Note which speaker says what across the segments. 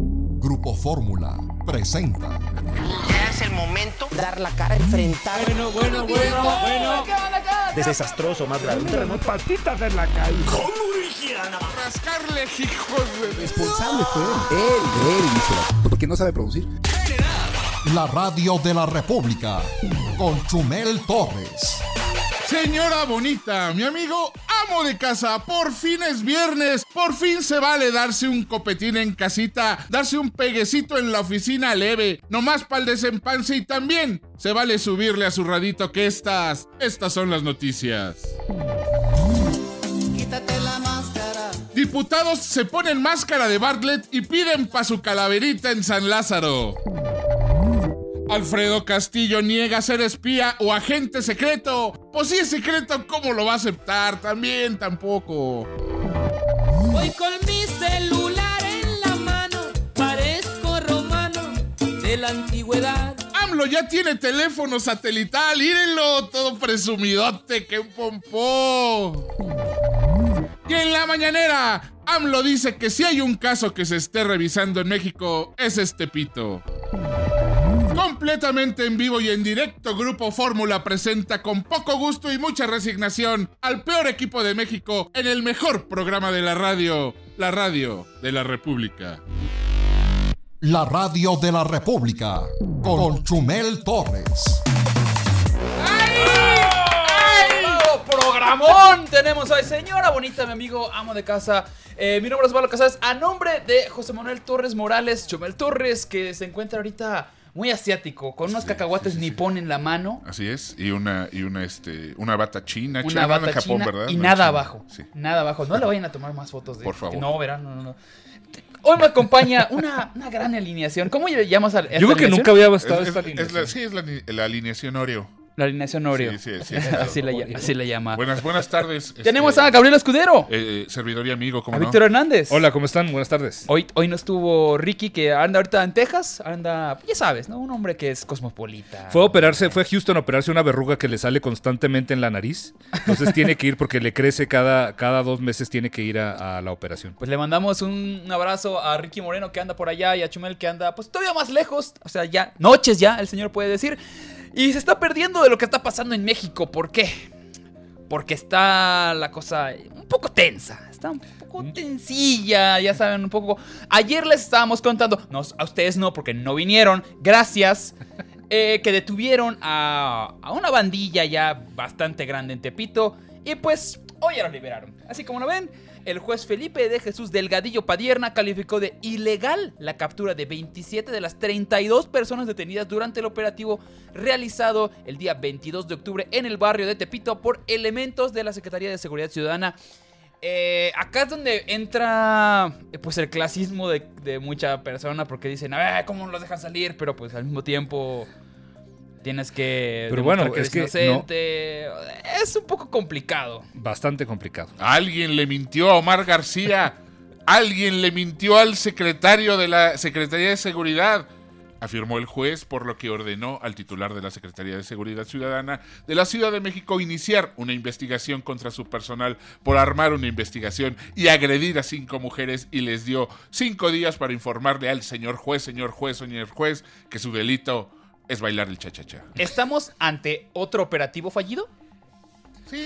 Speaker 1: Grupo Fórmula presenta.
Speaker 2: Ya es el momento.
Speaker 3: dar la cara, enfrentar.
Speaker 4: Bueno, bueno, bueno, bueno.
Speaker 5: desastroso más grave. Un terremoto.
Speaker 6: porque no sabe producir.
Speaker 1: La radio de la República con Chumel Torres.
Speaker 7: Señora bonita, mi amigo amo de casa, por fin es viernes, por fin se vale darse un copetín en casita, darse un peguecito en la oficina leve, nomás para el desempance y también se vale subirle a su radito que estas, estas son las noticias. Diputados se ponen máscara de Bartlett y piden pa' su calaverita en San Lázaro. Alfredo Castillo niega ser espía o agente secreto. Pues si es secreto, ¿cómo lo va a aceptar? También tampoco.
Speaker 4: Voy con mi celular en la mano. Parezco romano de la antigüedad.
Speaker 7: AMLO ya tiene teléfono satelital, írenlo, todo presumidote, que un pompó. Y en la mañanera, AMLO dice que si hay un caso que se esté revisando en México, es este pito. Completamente en vivo y en directo, Grupo Fórmula presenta con poco gusto y mucha resignación al peor equipo de México en el mejor programa de la radio, la radio de la República.
Speaker 1: La radio de la República con Chumel Torres.
Speaker 4: ¡Bravo! Programón tenemos hoy, señora bonita, mi amigo amo de casa. Eh, mi nombre es Pablo Casas, a nombre de José Manuel Torres Morales, Chumel Torres, que se encuentra ahorita muy asiático, con unos cacahuates nipón en la mano,
Speaker 7: Así es, y una, y una, este, una bata china,
Speaker 4: una
Speaker 7: china, no
Speaker 4: bata
Speaker 7: en Japón,
Speaker 4: china
Speaker 7: ¿verdad?
Speaker 4: y
Speaker 7: No en
Speaker 4: nada
Speaker 7: China.
Speaker 4: abajo,
Speaker 7: Sí.
Speaker 4: nada abajo. No le vayan a tomar más fotos de
Speaker 7: Por favor.
Speaker 4: No, verán, no, no, no. Hoy me acompaña una, una gran alineación. ¿Cómo le llamas a
Speaker 5: Yo creo que nunca había
Speaker 7: Es,
Speaker 5: bastado
Speaker 7: es-
Speaker 5: esta
Speaker 7: es la-
Speaker 5: alineación.
Speaker 7: sí, es la, ni- la alineación Oreo.
Speaker 4: La alineación Oreo.
Speaker 7: Sí, sí, sí, es la-
Speaker 4: así, la, ll- así la llama.
Speaker 7: Buenas, buenas tardes. este,
Speaker 4: Ah. Tenemos a Gabriel Escudero,
Speaker 7: eh, servidor y amigo, ¿cómo
Speaker 4: a
Speaker 7: no?
Speaker 4: Víctor Hernández.
Speaker 5: Hola, ¿cómo están? Buenas tardes.
Speaker 4: Pues, Hoy, hoy no estuvo Ricky, que anda ahorita en Texas. Anda, ya sabes, ¿no? Un hombre que es cosmopolita.
Speaker 5: Fue a operarse, fue a Houston a operarse una verruga que le sale constantemente en la nariz. Entonces tiene que ir porque le crece cada, cada dos meses, tiene que ir a, a la operación.
Speaker 4: Pues le mandamos un, un abrazo a Ricky Moreno que anda por allá y a Chumel que anda pues todavía más lejos. O sea, ya, noches ya, el señor puede decir. Y se está perdiendo de lo que está pasando en México. ¿Por qué? Porque está la cosa un poco tensa. Está un poco tensilla, ya saben, un poco. Ayer les estábamos contando, no, a ustedes no, porque no vinieron, gracias. eh, que detuvieron a, a una bandilla ya bastante grande en Tepito. Y pues hoy ya lo liberaron. Así como lo ven, el juez Felipe de Jesús Delgadillo Padierna calificó de ilegal la captura de 27 de las 32 personas detenidas durante el operativo realizado el día 22 de octubre en el barrio de Tepito por elementos de la Secretaría de Seguridad Ciudadana. Eh, acá es donde entra eh, pues el clasismo de, de mucha persona porque dicen, a ver, ¿cómo los dejan salir? Pero pues al mismo tiempo tienes que...
Speaker 5: Pero bueno,
Speaker 4: demostrar
Speaker 5: es que
Speaker 4: eres inocente. Es un poco complicado.
Speaker 5: Bastante complicado.
Speaker 7: Alguien le mintió a Omar García. Alguien le mintió al secretario de la Secretaría de Seguridad. Afirmó el juez, por lo que ordenó al titular de la Secretaría de Seguridad Ciudadana de la Ciudad de México iniciar una investigación contra su personal por armar una investigación y agredir a cinco mujeres y les dio cinco días para informarle al señor juez, señor juez, señor juez, que su delito es bailar el cha-cha-cha.
Speaker 4: ¿Estamos ante otro operativo fallido?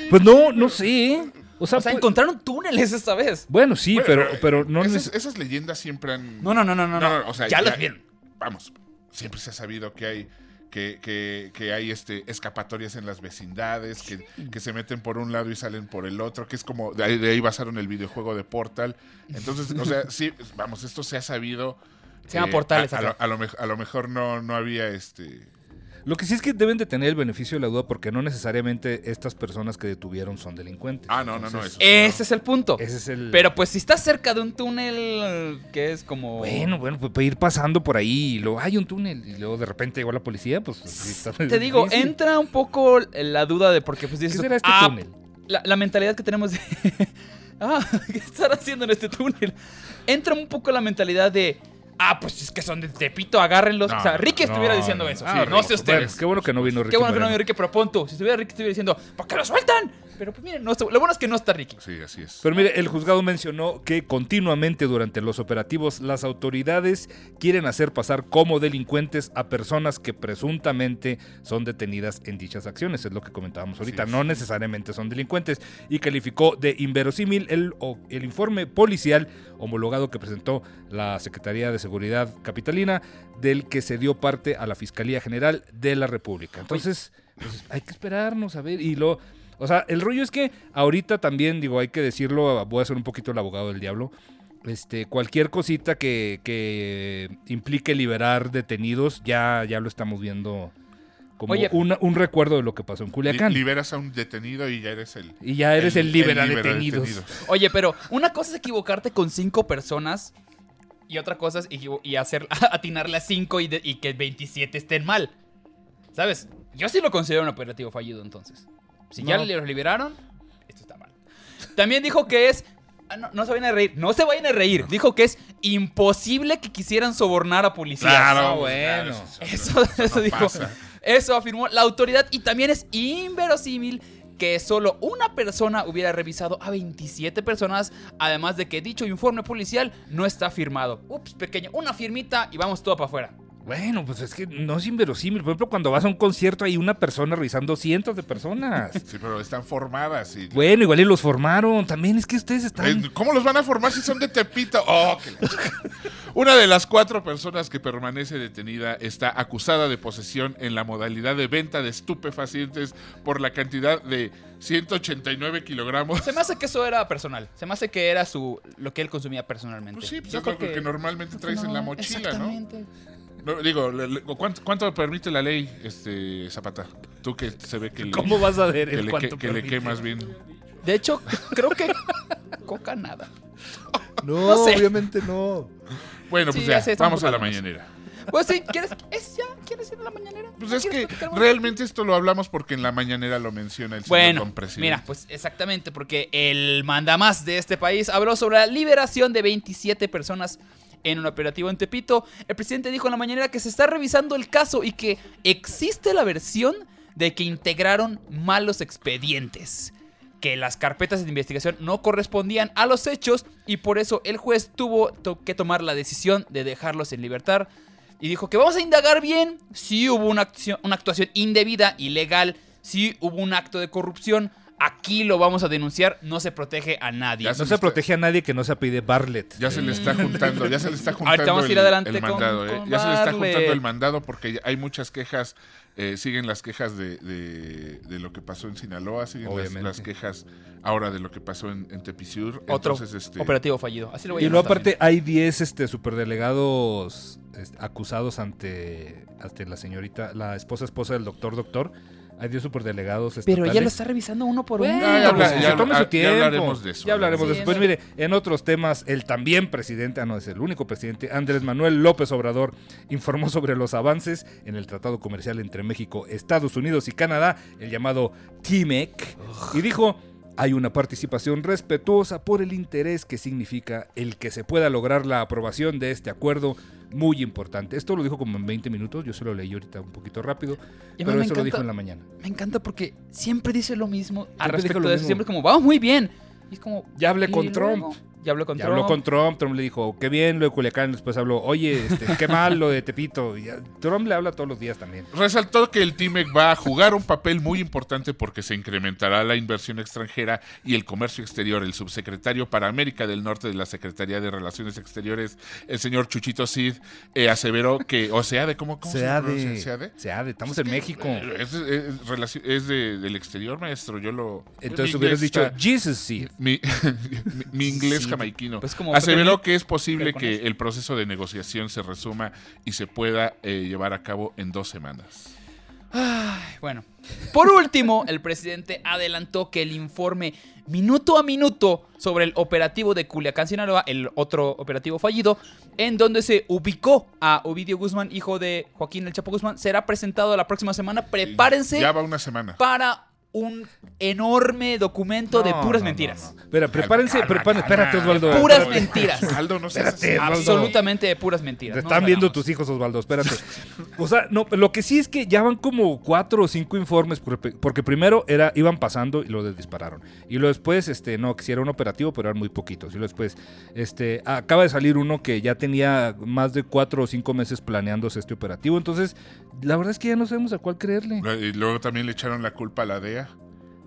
Speaker 5: Pues no, no sé. O sea,
Speaker 4: O sea,
Speaker 5: pues-
Speaker 4: encontraron túneles esta vez.
Speaker 5: bueno, sí,
Speaker 7: Bueno,
Speaker 5: pero, pero no
Speaker 7: esas,
Speaker 5: neces-
Speaker 7: esas leyendas siempre han.
Speaker 4: No, no, no, no, no.
Speaker 7: No, no, o sea,
Speaker 4: ya, los vieron.
Speaker 7: Vamos, siempre se ha sabido que hay que, que- que hay este escapatorias en las vecindades, que, que se meten por un lado y salen por el otro, que es como de ahí, de ahí basaron el videojuego de Portal. Entonces, o sea, sí, vamos, esto se ha sabido. eh,
Speaker 4: Se llama Portales
Speaker 7: A, a
Speaker 4: acá.
Speaker 7: lo, a lo mej- a lo mejor no, no había este.
Speaker 5: Lo que sí es que deben de tener el beneficio de la duda porque no necesariamente estas personas que detuvieron son delincuentes.
Speaker 7: Ah, no, no, no.
Speaker 5: Entonces,
Speaker 7: Eso,
Speaker 4: Ese es el punto.
Speaker 5: Ese es el...
Speaker 4: Pero pues si estás cerca de un túnel que es como...
Speaker 5: Bueno, bueno, pues para ir pasando por ahí y luego hay un túnel y luego de repente llegó la policía, pues... sí está
Speaker 4: Te digo,
Speaker 5: difícil.
Speaker 4: entra un poco la duda de porque pues
Speaker 5: ¿Qué
Speaker 4: dices...
Speaker 5: será este
Speaker 4: "Ah,
Speaker 5: túnel?
Speaker 4: La, la mentalidad que tenemos de... ah, ¿qué están haciendo en este túnel? Entra un poco la mentalidad de... Ah, pues es que son de Tepito, agárrenlos.
Speaker 7: No,
Speaker 4: o sea, Ricky
Speaker 5: no,
Speaker 4: estuviera diciendo
Speaker 5: no,
Speaker 4: eso.
Speaker 5: no,
Speaker 4: Sí,
Speaker 5: no,
Speaker 4: no sé
Speaker 5: Bueno,
Speaker 4: ustedes.
Speaker 5: qué bueno que no vino Ricky.
Speaker 4: Qué bueno que no vino
Speaker 5: Moreno.
Speaker 4: Ricky, pero pon tú. Si estuviera Ricky, estuviera diciendo, ¿por qué lo sueltan? Pero pues miren, no está- lo bueno es que no está Ricky.
Speaker 7: Sí, así es.
Speaker 5: Pero mire, el juzgado mencionó que continuamente durante los operativos las autoridades quieren hacer pasar como delincuentes a personas que presuntamente son detenidas en dichas acciones, es lo que comentábamos ahorita,
Speaker 7: es.
Speaker 5: no necesariamente son delincuentes, y calificó de inverosímil el, o- el informe policial homologado que presentó la Secretaría de Seguridad Capitalina, del que se dio parte a la Fiscalía General de la República. Entonces, pues, hay que esperarnos a ver y lo... O sea, el rollo es que ahorita también, digo, hay que decirlo, voy a ser un poquito el abogado del diablo. Este, cualquier cosita que, que implique liberar detenidos, ya, ya lo estamos viendo como
Speaker 4: Oye.
Speaker 5: una- un recuerdo de lo que pasó en
Speaker 7: Li-
Speaker 5: Culiacán.
Speaker 7: liberas a un detenido y ya eres el.
Speaker 5: y ya eres el, libera detenidos.
Speaker 7: detenidos.
Speaker 4: Oye, pero una cosa es equivocarte con cinco personas y otra cosa es equivo- y hacer, atinarle a cinco y, de- y que 27 estén mal. ¿Sabes? Yo sí lo considero un operativo fallido entonces. Si ya
Speaker 5: No.
Speaker 4: los liberaron, esto está mal. También dijo que es... ah, No, no se vayan a reír, no se vayan a reír. Dijo que es imposible que quisieran sobornar a policías.
Speaker 7: Claro,
Speaker 5: Ah, bueno.
Speaker 7: claro,
Speaker 4: Eso, eso
Speaker 7: no
Speaker 4: dijo.
Speaker 7: pasa.
Speaker 4: Eso afirmó la autoridad y también es inverosímil que solo una persona hubiera revisado a 27 personas, además de que dicho informe policial no está firmado. Ups, pequeño, una firmita y vamos todo para afuera.
Speaker 5: Bueno, pues es que no es inverosímil. Por ejemplo, cuando vas a un concierto hay una persona revisando cientos de personas.
Speaker 7: Sí, pero están formadas. Y...
Speaker 5: bueno, igual y los formaron. También es que ustedes están.
Speaker 7: Eh, ¿Cómo los van a formar si son de Tepito? Oh, que la- Una de las cuatro personas que permanece detenida está acusada de posesión en la modalidad de venta de estupefacientes por la cantidad de 189 kilogramos.
Speaker 4: Se me hace que eso era personal. Se me hace que era su lo que él consumía personalmente.
Speaker 7: Pues sí, pues es lo que, normalmente traes en la mochila, ¿no?
Speaker 4: Exactamente.
Speaker 7: No, Digo, le- le- ¿cuánto, cuánto permite la ley, este Zapata? Tú que se ve que le,
Speaker 5: ¿Cómo vas a ver
Speaker 7: que
Speaker 5: el
Speaker 7: le,
Speaker 5: cuánto
Speaker 7: que- que le
Speaker 5: permite?
Speaker 7: quemas bien.
Speaker 4: De hecho, creo que coca nada.
Speaker 3: No,
Speaker 4: No sé.
Speaker 3: obviamente no.
Speaker 7: Bueno,
Speaker 4: Sí,
Speaker 7: pues
Speaker 4: ya
Speaker 7: ya,
Speaker 4: sé, estamos
Speaker 7: vamos a la
Speaker 4: burlándonos.
Speaker 7: mañanera.
Speaker 4: Pues sí, ¿quieres es ya quieres ir a la mañanera?
Speaker 7: Pues
Speaker 4: ¿No
Speaker 7: es
Speaker 4: quieres
Speaker 7: que
Speaker 4: platicar un
Speaker 7: realmente esto lo hablamos porque en la mañanera lo menciona el señor
Speaker 4: Bueno,
Speaker 7: compresidente.
Speaker 4: mira, pues exactamente, porque el mandamás de este país habló sobre la liberación de 27 personas en un operativo en Tepito. El presidente dijo en la mañana que se está revisando el caso y que existe la versión de que integraron malos expedientes, que las carpetas de investigación no correspondían a los hechos y por eso el juez tuvo to- que tomar la decisión de dejarlos en libertad. Y dijo que vamos a indagar bien si hubo una acción, una actuación indebida, ilegal, si hubo un acto de corrupción. Aquí lo vamos a denunciar, no se protege a nadie.
Speaker 7: Ya
Speaker 5: No se protege a nadie que no se apide Bartlett. Eh,
Speaker 7: Ya se le está juntando, ya se le está juntando
Speaker 4: Ahorita vamos a
Speaker 7: el,
Speaker 4: ir adelante
Speaker 7: el
Speaker 4: con-
Speaker 7: mandado, ¿eh?
Speaker 4: con
Speaker 7: Ya se le está
Speaker 4: Barlet.
Speaker 7: juntando el mandado porque ya hay muchas quejas, eh, siguen las quejas de, de- de lo que pasó en Sinaloa, siguen las,
Speaker 5: Obviamente.
Speaker 7: las quejas ahora de lo que pasó en, en Tepisur.
Speaker 4: Otro
Speaker 7: Entonces, este,
Speaker 4: operativo fallido. Así lo voy a
Speaker 5: Y luego
Speaker 4: llamar
Speaker 5: aparte hay 10 este, superdelegados este, acusados ante, ante la señorita, la esposa esposa del doctor doctor. Hay 10 superdelegados
Speaker 4: también. Pero ya lo
Speaker 5: estatales.
Speaker 4: está revisando uno por
Speaker 5: Bueno,
Speaker 4: uno.
Speaker 7: ya habla-
Speaker 5: pues,
Speaker 7: ya
Speaker 5: que se
Speaker 7: habla-
Speaker 5: tome su
Speaker 7: ya
Speaker 5: tiempo.
Speaker 7: hablaremos de eso.
Speaker 5: Ya hablaremos
Speaker 4: Sí,
Speaker 5: de eso. Pues
Speaker 4: eso.
Speaker 5: mire, en otros temas, el también presidente, ah, no es el único presidente, Andrés Manuel López Obrador, informó sobre los avances en el tratado comercial entre México, Estados Unidos y Canadá, el llamado TIMEC, y dijo. Hay una participación respetuosa por el interés que significa el que se pueda lograr la aprobación de este acuerdo muy importante. Esto lo dijo como en 20 minutos, yo se lo leí ahorita un poquito rápido,
Speaker 4: Y a mí
Speaker 5: pero
Speaker 4: me
Speaker 5: eso lo
Speaker 4: encanta-
Speaker 5: dijo en la mañana.
Speaker 4: Me encanta porque siempre dice lo mismo al
Speaker 5: Siempre dijo
Speaker 4: respecto
Speaker 5: lo
Speaker 4: de eso.
Speaker 5: mismo.
Speaker 4: Siempre como, vamos muy bien. Y es como,
Speaker 5: Ya hablé
Speaker 4: "¿Y
Speaker 5: con Trump".
Speaker 4: luego?". Ya habló con
Speaker 5: Ya
Speaker 4: Trump.
Speaker 5: habló con Trump, Trump le dijo, qué bien lo de Culiacán, después habló, oye, este, qué mal lo de Tepito. Y, ah, Trump le habla todos los días también.
Speaker 7: Resaltó que el TIMEC va a jugar un papel muy importante porque se incrementará la inversión extranjera y el comercio exterior. El subsecretario para América del Norte de la Secretaría de Relaciones Exteriores, el señor Chuchito Cid, eh, aseveró que, o sea, de cómo, cómo se, pronuncia? ¿SEADE?
Speaker 5: SEADE, estamos en México.
Speaker 7: Es, es relaci- es de- del exterior, maestro. Yo lo.
Speaker 5: Entonces
Speaker 7: mi
Speaker 5: hubieras
Speaker 7: inglés
Speaker 5: dicho,
Speaker 7: está-
Speaker 5: Jesus sí.
Speaker 7: Mi, mi- mi inglés
Speaker 4: Sí,
Speaker 7: jamaiquino.
Speaker 4: pues como-
Speaker 7: Aseveró que es posible
Speaker 4: pero con
Speaker 7: que
Speaker 4: eso.
Speaker 7: el proceso de negociación se resuma y se pueda eh, llevar a cabo en dos semanas.
Speaker 4: Bueno, por último, el presidente adelantó que el informe minuto a minuto sobre el operativo de Culiacán, Sinaloa, el otro operativo fallido, en donde se ubicó a Ovidio Guzmán, hijo de Joaquín El Chapo Guzmán, será presentado la próxima semana. Prepárense
Speaker 7: Ya va una semana.
Speaker 4: para un enorme documento de
Speaker 5: No,
Speaker 4: puras
Speaker 5: no,
Speaker 4: mentiras.
Speaker 5: no, no. Espera, prepárense,
Speaker 7: Calma,
Speaker 5: prepárense.
Speaker 7: calma,
Speaker 5: Espérate, Osvaldo.
Speaker 7: calma.
Speaker 4: Puras mentiras.
Speaker 7: Osvaldo, no seas así.
Speaker 5: Espérate, Osvaldo.
Speaker 4: Absolutamente de puras mentiras.
Speaker 5: Te
Speaker 4: No
Speaker 5: están
Speaker 4: nos
Speaker 5: viendo
Speaker 4: hagamos.
Speaker 5: tus hijos, Osvaldo, espérate. O sea, no, lo que sí es que ya van como cuatro o cinco informes, porque porque primero era, iban pasando y lo dispararon. Y luego después, este, no, que sí era un operativo, pero eran muy poquitos. Y luego después, este, acaba de salir uno que ya tenía más de cuatro o cinco meses planeándose este operativo. Entonces, la verdad es que ya no sabemos a cuál creerle.
Speaker 7: Y luego también le echaron la culpa a la DEA.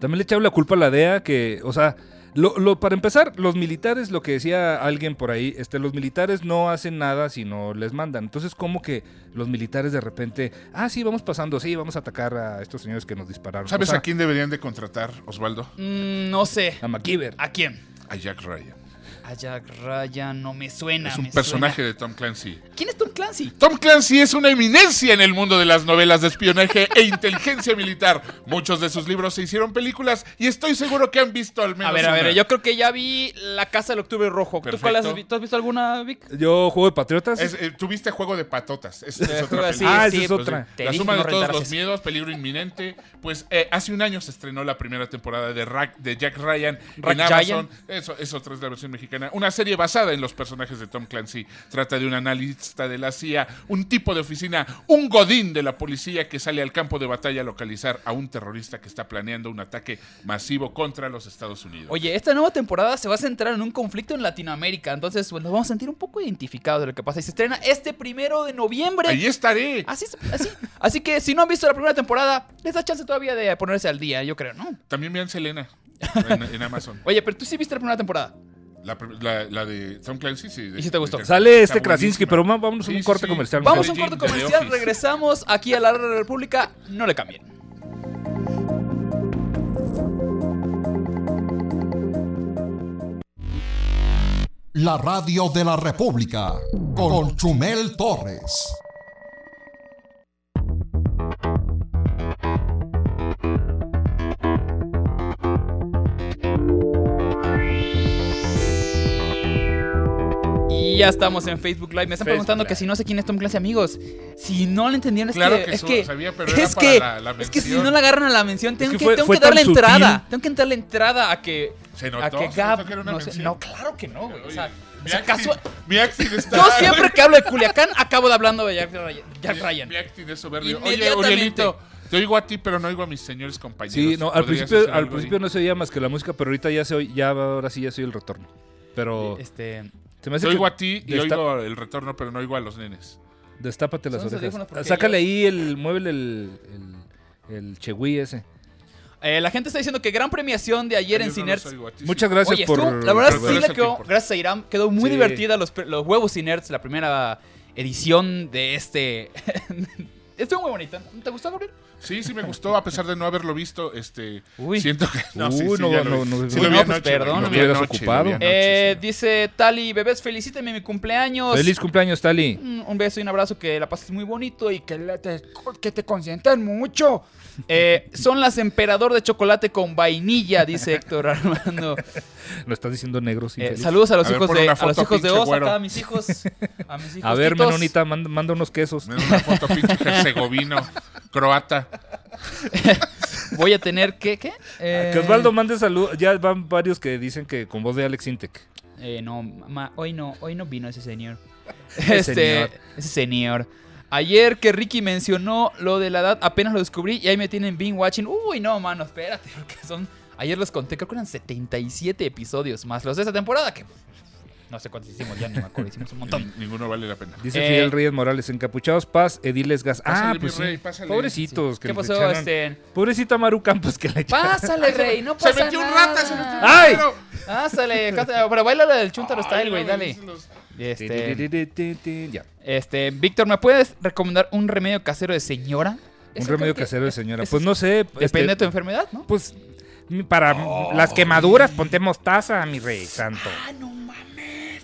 Speaker 5: También le echaron la culpa a la DEA, que, o sea, lo, lo- para empezar, los militares, lo que decía alguien por ahí, este, los militares no hacen nada si no les mandan. Entonces, como que los militares de repente, ah, sí, vamos pasando, sí, vamos a atacar a estos señores que nos dispararon.
Speaker 7: ¿Sabes
Speaker 5: O sea,
Speaker 7: a quién deberían de contratar, Osvaldo?
Speaker 4: Mm, no sé.
Speaker 5: A MacGyver.
Speaker 4: ¿A quién?
Speaker 7: A Jack Ryan.
Speaker 4: A Jack Ryan no me suena.
Speaker 7: Es un
Speaker 4: Ah, me suena.
Speaker 7: personaje de Tom Clancy.
Speaker 4: ¿Quién es Tom Clancy?
Speaker 7: Tom Clancy es una eminencia en el mundo de las novelas de espionaje e inteligencia militar. Muchos de sus libros se hicieron películas y estoy seguro que han visto al menos.
Speaker 4: A ver, a
Speaker 7: una.
Speaker 4: ver, yo creo que ya vi La Casa del Octubre Rojo. ¿Tú, cuál has,
Speaker 7: Perfecto.
Speaker 4: vi- ¿Tú has visto alguna, Vic?
Speaker 5: Yo juego de patriotas.
Speaker 7: Es, eh, Tuviste juego de patotas. Es, es
Speaker 4: Eh,
Speaker 7: otra
Speaker 4: juego así,
Speaker 7: película.
Speaker 5: Ah, esa es
Speaker 4: pues,
Speaker 5: otra.
Speaker 4: te
Speaker 7: la
Speaker 4: dije
Speaker 7: suma
Speaker 4: no
Speaker 7: de todos
Speaker 4: rentaras
Speaker 7: los
Speaker 4: eso.
Speaker 7: miedos, peligro inminente. Pues eh, hace un año se estrenó la primera temporada de, Ra- de Jack Ryan
Speaker 4: Rack
Speaker 7: en Amazon. Eso, es otra es la versión mexicana. Una serie basada en los personajes de Tom Clancy. Trata de un analista de la CIA, un tipo de oficina, un godín de la policía que sale al campo de batalla a localizar a un terrorista que está planeando un ataque masivo contra los Estados Unidos.
Speaker 4: Oye, esta nueva temporada se va a centrar en un conflicto en Latinoamérica. Entonces, pues, nos vamos a sentir un poco identificados de lo que pasa. Y se estrena este primero de noviembre.
Speaker 7: Ahí estaré.
Speaker 4: Así, es- así, así que si no han visto la primera temporada, les da chance todavía de ponerse al día, yo creo, ¿no?
Speaker 7: También vean Selena en, en Amazon.
Speaker 4: Oye, pero tú sí viste la primera temporada.
Speaker 7: La, pr- la- la de Tom Clancy, sí. de-
Speaker 4: ¿Y si te gustó?
Speaker 7: de-
Speaker 5: Sale
Speaker 7: está
Speaker 5: este Krasinski,
Speaker 7: buenísima.
Speaker 5: pero ma- vamos a un
Speaker 7: Sí, sí,
Speaker 5: corte
Speaker 7: sí.
Speaker 5: comercial.
Speaker 4: Vamos a un
Speaker 5: muchachos.
Speaker 7: Jim
Speaker 4: corte
Speaker 7: de The
Speaker 4: comercial,
Speaker 7: Office.
Speaker 4: regresamos aquí a la Radio República. No le cambien.
Speaker 1: La radio de la República con Chumel Torres.
Speaker 4: Y ya estamos en Facebook Live. Me están
Speaker 5: Facebook
Speaker 4: preguntando que
Speaker 5: Live.
Speaker 4: si no sé quién es Tom Clancy, amigos. Si no le entendieron, es
Speaker 7: Claro
Speaker 4: que,
Speaker 7: que
Speaker 4: es
Speaker 7: su-
Speaker 4: que,
Speaker 7: sabía, pero era
Speaker 4: es,
Speaker 7: para
Speaker 4: que
Speaker 7: la- la
Speaker 4: es que si
Speaker 7: mención.
Speaker 4: no le agarran a la mención, tengo
Speaker 5: que
Speaker 4: que,
Speaker 5: fue-
Speaker 4: tengo
Speaker 5: fue
Speaker 4: que darle
Speaker 5: tan sutil.
Speaker 4: entrada. Tengo que darle entrada a que.
Speaker 7: Se notó,
Speaker 4: a que
Speaker 7: se
Speaker 4: Gab.
Speaker 7: notó que era una
Speaker 4: no, sé-
Speaker 7: mención.
Speaker 4: no, claro que no, güey. O sea,
Speaker 7: mi
Speaker 4: si acaso-
Speaker 7: acting- mi acting está.
Speaker 4: Yo siempre que hablo de Culiacán, acabo de hablando de Jack Ryan. Jack
Speaker 7: Mi-
Speaker 4: Ryan.
Speaker 7: Mi acting es soberbio. Oye,
Speaker 4: Inmediatamente.
Speaker 7: Urielito, te oigo a ti, pero no oigo a mis señores compañeros.
Speaker 5: Sí, no, al
Speaker 7: ¿Podrías
Speaker 5: principio,
Speaker 7: hacer
Speaker 5: al
Speaker 7: algo ahí?
Speaker 5: principio no se oía más que la música, pero ahorita ya se oye, ya ahora sí ya soy el retorno. Pero
Speaker 4: Este.
Speaker 5: se me hace
Speaker 7: Te oigo
Speaker 5: que-
Speaker 7: a ti y
Speaker 5: Destap-
Speaker 7: oigo el retorno, pero no oigo a los nenes.
Speaker 5: Destápate las
Speaker 4: Son esos
Speaker 5: orejas.
Speaker 4: audífonos porque
Speaker 5: Sácale
Speaker 4: ya-
Speaker 5: ahí el. Muévele el. El, el chegüí ese.
Speaker 4: eh, la gente está diciendo que gran premiación de ayer en
Speaker 7: Yo no
Speaker 4: Ciner.
Speaker 7: los oigo a ti, sí.
Speaker 5: Muchas gracias
Speaker 4: Oye,
Speaker 5: por.
Speaker 4: estuvo- la verdad
Speaker 7: por
Speaker 4: sí
Speaker 7: vernos
Speaker 4: le
Speaker 7: aquí
Speaker 4: quedó,
Speaker 7: por-
Speaker 4: gracias a Irán, quedó muy
Speaker 5: Sí.
Speaker 4: divertida los, pre- los huevos y nerds, la primera edición de este... estuvo muy bonita. ¿Te gustó, Gabriel?
Speaker 7: Sí, sí me gustó, a pesar de no haberlo visto. Este,
Speaker 4: Uy.
Speaker 7: siento que. No,
Speaker 5: Uy, Uh,
Speaker 7: sí, sí,
Speaker 5: no,
Speaker 7: ya lo
Speaker 5: no,
Speaker 7: vi.
Speaker 5: no,
Speaker 7: Sí
Speaker 5: no,
Speaker 7: lo vi
Speaker 4: no, pues,
Speaker 7: anoche, güey,
Speaker 4: perdón.
Speaker 7: lo vi
Speaker 5: Te hubieras
Speaker 7: anoche, lo vi
Speaker 5: ocupado.
Speaker 7: anoche,
Speaker 4: Eh,
Speaker 7: sí.
Speaker 4: dice Tali, bebés, felicíteme mi cumpleaños.
Speaker 5: Feliz cumpleaños, Tali.
Speaker 4: Mm, Un beso y un abrazo, que la pases muy bonito y que la- te, que te consientan mucho. Eh, son las emperador de chocolate con vainilla, dice Héctor Armando.
Speaker 5: Lo estás diciendo negro, sí.
Speaker 4: Eh,
Speaker 5: feliz.
Speaker 4: saludos a los
Speaker 7: A ver,
Speaker 4: hijos
Speaker 7: pon
Speaker 4: de
Speaker 7: una
Speaker 4: a
Speaker 7: foto,
Speaker 4: los hijos de
Speaker 7: pinche
Speaker 4: Oz,
Speaker 7: güero.
Speaker 4: acá a mis hijos, a mis hijos.
Speaker 5: A ver,
Speaker 4: titos.
Speaker 5: Menonita, manda, manda unos quesos.
Speaker 7: Me da una foto pinche herzegovino, croata.
Speaker 4: Voy a tener que qué? Eh,
Speaker 5: Que Osvaldo mande saludos. Ya van varios que dicen que con voz de Alex Intec.
Speaker 4: eh, no, ma- hoy no, hoy no vino ese señor.
Speaker 5: Ese
Speaker 4: este,
Speaker 5: señor.
Speaker 4: ese señor. Ayer que Ricky mencionó lo de la edad, apenas lo descubrí y ahí me tienen being watching. Uy, no, mano, espérate, porque son ayer los conté, creo que eran 77 episodios más los de esta temporada que no sé cuántos hicimos, ya ni me acuerdo, hicimos un montón.
Speaker 7: Ni- Ninguno vale la pena.
Speaker 5: Dice
Speaker 4: Eh.
Speaker 5: Fidel Reyes Morales. Encapuchados, paz, Ediles Gas. Ah,
Speaker 7: Pásale,
Speaker 5: pues
Speaker 7: mi rey,
Speaker 5: sí.
Speaker 7: pásale.
Speaker 5: Pobrecitos. Que
Speaker 4: ¿Qué
Speaker 5: les
Speaker 4: pasó,
Speaker 5: echaron-
Speaker 4: este?
Speaker 5: Pobrecita Maru Campos que le echaron.
Speaker 4: Pásale, rey,
Speaker 7: Se
Speaker 4: no pasa
Speaker 7: metió un
Speaker 4: nada.
Speaker 7: rata, se metió un
Speaker 5: ¡Ay!
Speaker 7: ratero.
Speaker 4: Pásale, cásale, ah, pero baila la del Chuntaro Style,
Speaker 7: Ay,
Speaker 4: güey,
Speaker 7: no,
Speaker 4: dale.
Speaker 7: dicen los-
Speaker 4: Este,
Speaker 5: Ya.
Speaker 4: Este, Víctor, ¿me puedes recomendar un remedio casero de señora?
Speaker 5: Un
Speaker 4: Eso creo
Speaker 5: remedio
Speaker 4: que
Speaker 5: casero de señora.
Speaker 4: es-
Speaker 5: Pues no sé.
Speaker 4: Depende de tu
Speaker 5: este,
Speaker 4: enfermedad, ¿no?
Speaker 5: Pues para las quemaduras, ponte mostaza, mi rey santo.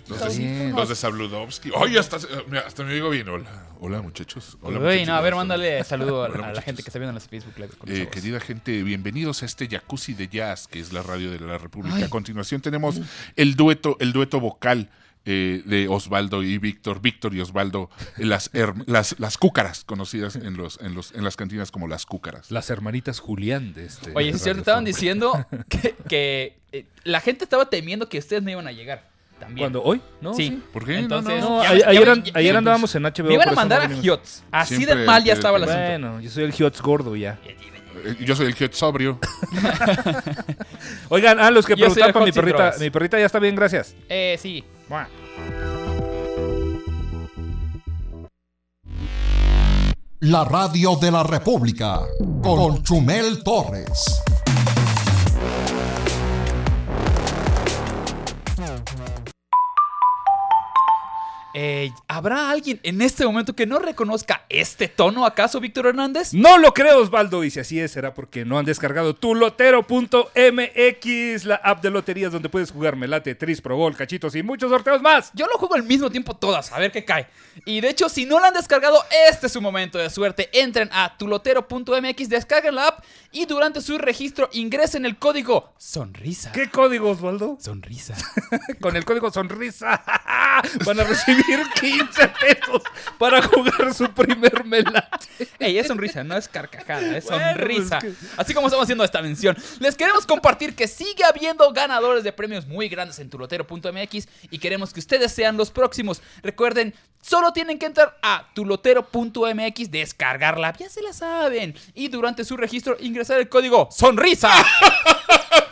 Speaker 7: Los de,
Speaker 5: Bien.
Speaker 7: los de Sabludovsky. Oye, hasta, eh, mira, hasta me digo bien. Hola, hola muchachos. Hola,
Speaker 4: Uy,
Speaker 7: muchachos.
Speaker 4: no, a ver, mándale saludo
Speaker 7: Hola,
Speaker 4: a, a la
Speaker 7: muchachos.
Speaker 4: gente que está viendo en las Facebook Live. con
Speaker 7: Eh,
Speaker 4: esa voz.
Speaker 7: querida gente, bienvenidos a este Jacuzzi de Jazz, que es la radio de la República. A continuación tenemos el dueto, el dueto vocal eh, de Osvaldo y Víctor, Víctor y Osvaldo, eh, las, her- las, las cúcaras, conocidas en, los, en, los, en las cantinas como las cúcaras.
Speaker 5: Las hermanitas Julián de este.
Speaker 4: Oye, si es cierto, estaban
Speaker 5: Radio Fórmula.
Speaker 4: diciendo que, que, eh, la gente estaba temiendo que ustedes no iban a llegar. También.
Speaker 5: ¿Cuándo? ¿Hoy? ¿No?
Speaker 4: Sí.
Speaker 7: ¿Por qué? No,
Speaker 4: Entonces,
Speaker 5: No,
Speaker 4: ya-
Speaker 5: a-
Speaker 4: ya-
Speaker 5: ayer,
Speaker 4: ya-
Speaker 5: an-
Speaker 4: ya-
Speaker 5: ayer andábamos en HBO.
Speaker 4: Me iban a
Speaker 5: por eso
Speaker 4: mandar
Speaker 5: no
Speaker 4: a
Speaker 5: vinimos.
Speaker 4: Giots. Así de
Speaker 7: Siempre
Speaker 4: mal ya
Speaker 7: te-
Speaker 4: estaba el
Speaker 7: te-
Speaker 4: asunto.
Speaker 5: Bueno, yo soy el Hiots gordo ya.
Speaker 7: Eh, Yo soy el que sobrio.
Speaker 5: Oigan, a los que
Speaker 4: Yo soy
Speaker 5: preguntaban
Speaker 4: el
Speaker 5: para mi
Speaker 4: Hot Sin
Speaker 5: perrita,
Speaker 4: Drogas.
Speaker 5: mi perrita ya está bien, gracias.
Speaker 4: Eh, sí.
Speaker 5: Mua.
Speaker 1: La radio de la República con Chumel Torres.
Speaker 4: Eh, ¿Habrá alguien en este momento que no reconozca este tono, acaso, Víctor Hernández?
Speaker 5: No lo creo, Osvaldo, y si así es, será porque no han descargado tu lotero.mx, la app de loterías donde puedes jugar melate, tris, pro gol, cachitos y muchos sorteos más.
Speaker 4: Yo lo juego al mismo tiempo todas, a ver qué cae. Y de hecho, si no la han descargado, este es su momento de suerte. Entren a tulotero.mx, descarguen la app y durante su registro ingresen el código sonrisa.
Speaker 5: ¿Qué código, Osvaldo?
Speaker 4: Sonrisa.
Speaker 5: Con el código sonrisa van a recibir 15 pesos para jugar su primer melate.
Speaker 4: Ey, es sonrisa, no es carcajada, es
Speaker 5: Bueno,
Speaker 4: sonrisa.
Speaker 5: pues
Speaker 4: Así como estamos haciendo esta mención, les queremos compartir que sigue habiendo ganadores de premios muy grandes en tulotero.mx y queremos que ustedes sean los próximos. Recuerden, solo tienen que entrar a tulotero.mx, descargarla, ya se la saben, y durante su registro ingresar el código sonrisa,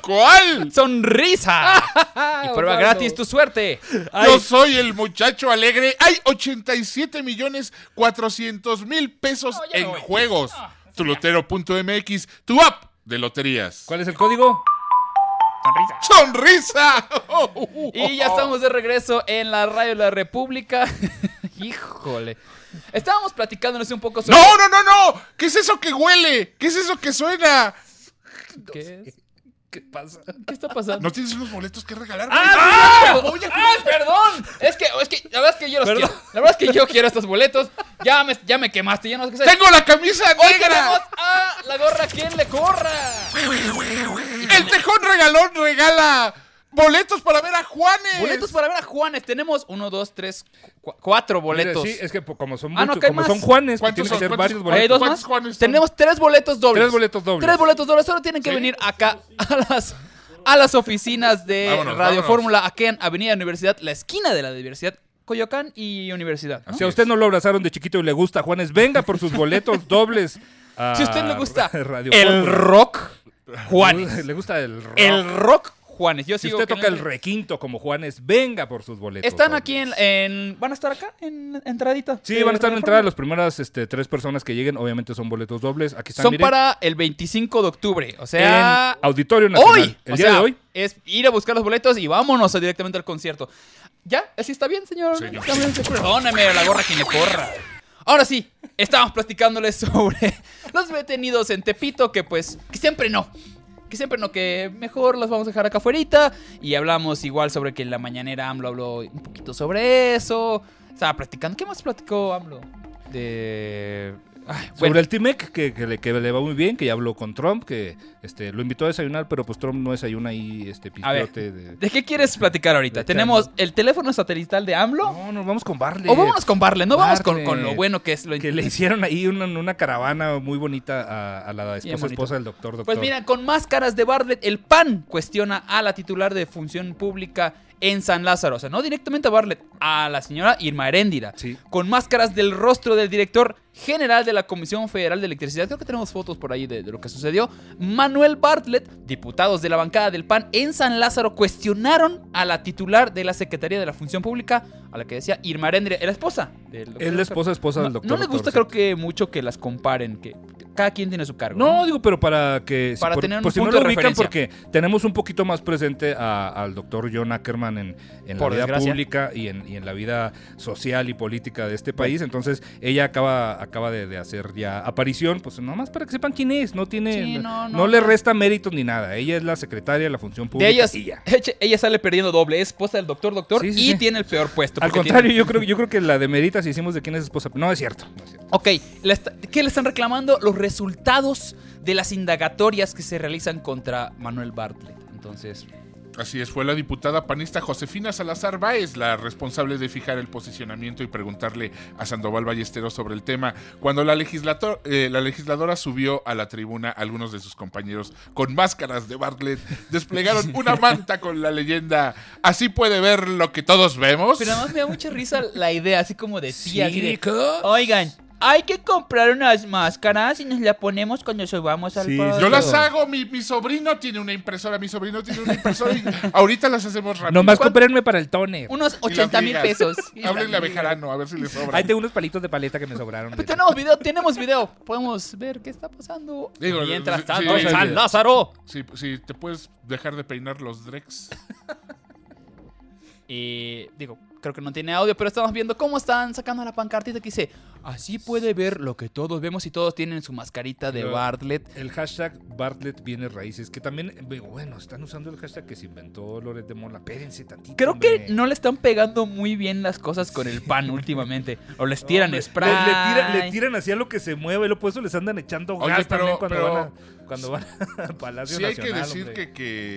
Speaker 7: ¿Cuál?
Speaker 4: sonrisa. y prueba
Speaker 5: Osvaldo.
Speaker 4: gratis tu suerte.
Speaker 7: Yo soy el muchacho alegre. Hay 87 millones 400 mil pesos
Speaker 4: No, ya
Speaker 7: en
Speaker 4: me voy. Ah,
Speaker 7: juegos. Tulotero.mx, tu app de loterías.
Speaker 5: ¿Cuál es el código?
Speaker 7: ¡Sonrisa!
Speaker 4: Y ya estamos de regreso en la radio de la República. Híjole. Estábamos platicándonos un poco sobre...
Speaker 7: ¡No, no, no, no! ¿Qué es eso que huele? ¿Qué es eso que suena?
Speaker 4: ¿Qué, es?
Speaker 5: ¿Qué pasa?
Speaker 4: ¿Qué está pasando?
Speaker 7: ¿No tienes unos boletos que regalar?
Speaker 4: ¡Ah! ¡Ay, perdón! Es que, es que la verdad es que yo los
Speaker 5: Perdón.
Speaker 4: quiero. La verdad es que yo quiero estos boletos. Ya me, ya me quemaste, ya no sé qué hacer.
Speaker 7: ¡Tengo la camisa
Speaker 4: Hoy tenemos
Speaker 7: negra!
Speaker 4: a la gorra quien le corra.
Speaker 7: ¡El tejón regalón regala boletos para ver a Juanes!
Speaker 4: Boletos para ver a Juanes. Tenemos uno, dos, tres, cu- cuatro boletos.
Speaker 5: Mira, sí, es que po- como son,
Speaker 4: Ah, no,
Speaker 5: muchos-
Speaker 4: que hay
Speaker 5: como
Speaker 4: más.
Speaker 5: son Juanes, pues
Speaker 7: ¿Cuántos
Speaker 5: tienen
Speaker 7: son?
Speaker 5: que ser
Speaker 7: ¿Cuántos?
Speaker 5: varios
Speaker 7: Oye,
Speaker 4: Hay
Speaker 5: boletos.
Speaker 4: dos
Speaker 7: ¿Cuántos
Speaker 4: más.
Speaker 7: Juanes son?
Speaker 4: Tenemos tres boletos dobles.
Speaker 5: Tres boletos dobles.
Speaker 4: Tres boletos dobles. Solo tienen que venir acá a las, a las oficinas de
Speaker 7: Vámonos,
Speaker 4: Radio
Speaker 7: vámonos.
Speaker 4: Fórmula, aquí en Avenida Universidad, la esquina de la Universidad, Coyoacán y Universidad. ¿no?
Speaker 5: Si a usted no lo abrazaron de chiquito y le gusta Juanes, venga por sus boletos dobles. a
Speaker 4: Si a usted le gusta
Speaker 5: Radio
Speaker 4: el
Speaker 5: Fórmula.
Speaker 4: rock, Juanes.
Speaker 5: Le gusta el rock.
Speaker 4: El rock, Juanes. Yo
Speaker 5: si
Speaker 4: sigo
Speaker 5: usted
Speaker 4: con
Speaker 5: toca el requinto como Juanes, venga por sus boletos.
Speaker 4: Están
Speaker 5: dobles.
Speaker 4: aquí en, en- ¿Van a estar acá? ¿En entradita?
Speaker 5: Sí,
Speaker 4: de
Speaker 5: van a estar en
Speaker 4: Radio
Speaker 5: entrada
Speaker 4: Fórmula.
Speaker 5: las primeras este, tres personas que lleguen. Obviamente son boletos dobles. Aquí están,
Speaker 4: Son
Speaker 5: miren,
Speaker 4: para el 25 de octubre. O
Speaker 5: en
Speaker 4: sea.
Speaker 5: Auditorio Nacional.
Speaker 4: Hoy.
Speaker 5: El
Speaker 4: o
Speaker 5: día
Speaker 4: sea,
Speaker 5: de hoy.
Speaker 4: Es ir a buscar los boletos y vámonos directamente al concierto. ¿Ya? ¿Así está bien, señor?
Speaker 7: Señor.
Speaker 4: Está bien, señor. Perdóname, la gorra que me corra. Ahora sí, estábamos platicándoles sobre los detenidos en Tepito que pues que siempre no. Que siempre no, que mejor los vamos a dejar acá afuera. Y hablamos igual sobre que en la mañanera AMLO habló un poquito sobre eso. Estaba platicando. ¿Qué más platicó AMLO? De... Ay,
Speaker 5: Sobre
Speaker 4: bueno,
Speaker 5: el T-MEC, que, que le, que le va muy bien, que ya habló con Trump, que este, lo invitó a desayunar, pero pues Trump no desayuna ahí este
Speaker 4: A ver.
Speaker 5: pistote de...
Speaker 4: ¿de qué quieres platicar ahorita?
Speaker 5: De
Speaker 4: ¿Tenemos el teléfono satelital de AMLO?
Speaker 5: No, nos vamos con Barley.
Speaker 4: O vámonos con Barlet, no vamos con,
Speaker 5: Barlet.
Speaker 4: con lo bueno que es lo
Speaker 5: que le hicieron ahí una, una caravana muy bonita a, a la
Speaker 4: Bien
Speaker 5: esposa,
Speaker 4: bonito.
Speaker 5: esposa del doctor, doctor.
Speaker 4: Pues mira, con máscaras de Bartlett, el PAN cuestiona a la titular de función pública en San Lázaro. O sea, no directamente a Bartlett, a la señora Irma Heréndira.
Speaker 5: Sí.
Speaker 4: Con máscaras del rostro del director general de la Comisión Federal de Electricidad. Creo que tenemos fotos por ahí de, de lo que sucedió. Manuel Bartlett, diputados de la bancada del PAN en San Lázaro, cuestionaron a la titular de la Secretaría de la Función Pública, a la que decía Irma Heréndira, era esposa del doctor.
Speaker 5: Es la esposa, esposa
Speaker 4: No,
Speaker 5: del doctor.
Speaker 4: no le gusta, creo
Speaker 5: doctor,
Speaker 4: que mucho que las comparen, que cada quien tiene su cargo.
Speaker 5: No, digo, pero para que...
Speaker 4: Para
Speaker 5: por,
Speaker 4: tener un
Speaker 5: por si no
Speaker 4: punto
Speaker 5: lo
Speaker 4: de
Speaker 5: ubican,
Speaker 4: referencia.
Speaker 5: porque tenemos un poquito más presente a- al doctor John Ackerman en, en la
Speaker 4: Por
Speaker 5: vida
Speaker 4: desgracia.
Speaker 5: pública y en, y en la vida social y política de este país. Entonces, ella acaba, acaba de, de hacer ya aparición, pues nada más para que sepan quién es. No tiene...
Speaker 4: Sí, no, no,
Speaker 5: le
Speaker 4: no.
Speaker 5: resta méritos ni nada. Ella es la secretaria de la función pública.
Speaker 4: De ellas,
Speaker 5: y ya.
Speaker 4: eche- ella sale perdiendo doble. Es esposa del doctor, doctor,
Speaker 5: Sí, sí,
Speaker 4: y
Speaker 5: sí.
Speaker 4: tiene el peor puesto.
Speaker 5: Al
Speaker 4: porque
Speaker 5: contrario,
Speaker 4: tiene-
Speaker 5: yo creo, yo creo que la de Merita si hicimos de quién es esposa. No es cierto. no es cierto.
Speaker 4: Ok, la est- ¿qué le están reclamando? Los resultados de las indagatorias que se realizan contra Manuel Bartlett. Entonces,
Speaker 7: Así es, fue la diputada panista Josefina Salazar Báez la responsable de fijar el posicionamiento y preguntarle a Sandoval Ballesteros sobre el tema cuando la, legislator- eh, la legisladora subió a la tribuna algunos de sus compañeros con máscaras de Bartlett desplegaron una manta con la leyenda así puede ver lo que todos vemos
Speaker 4: Pero además me da mucha risa la idea, así como de tía, así de,
Speaker 5: Chicos.
Speaker 4: Oigan, hay que comprar unas máscaras y nos la ponemos cuando subamos al
Speaker 3: Sí,
Speaker 4: podcast".
Speaker 7: yo las
Speaker 3: Todo.
Speaker 7: hago mi, mi sobrino tiene una impresora mi sobrino tiene una impresora y ahorita las hacemos rápido
Speaker 5: Nomás comprenme para el toner.
Speaker 4: Unos
Speaker 7: Y las
Speaker 4: 80 mil
Speaker 7: ligas.
Speaker 4: pesos.
Speaker 7: Háblenle a Bejarano, a ver si le sobra.
Speaker 5: Ahí tengo unos palitos de paleta que me sobraron.
Speaker 4: Pero Pues tenemos video, tenemos video. Podemos ver qué está pasando.
Speaker 7: Digo,
Speaker 4: Mientras
Speaker 7: sí,
Speaker 4: tanto,
Speaker 7: sí,
Speaker 4: en
Speaker 7: sí.
Speaker 4: San Lázaro.
Speaker 7: Si te puedes dejar de peinar los Drex.
Speaker 4: Y digo, creo que no tiene audio, pero estamos viendo cómo están sacando la pancartita que dice: Así puede ver lo que todos vemos y todos tienen su mascarita de
Speaker 5: Claro.
Speaker 4: Bartlett.
Speaker 5: El hashtag Bartlett viene raíces, que también, bueno, están usando el hashtag que se inventó Loret de Mola. Espérense tantito.
Speaker 4: Creo que
Speaker 5: hombre.
Speaker 4: no le están pegando muy bien las cosas con el pan últimamente. O les tiran
Speaker 5: Hombre,
Speaker 4: spray.
Speaker 5: Le, le tiran, le tiran hacia lo que se mueve, lo por eso les andan echando
Speaker 7: Oye,
Speaker 5: gas
Speaker 7: pero-
Speaker 5: también cuando
Speaker 7: pero-
Speaker 5: van a, cuando van a Palacio
Speaker 7: Sí hay que
Speaker 5: Nacional,
Speaker 7: decir
Speaker 5: hombre.
Speaker 7: que,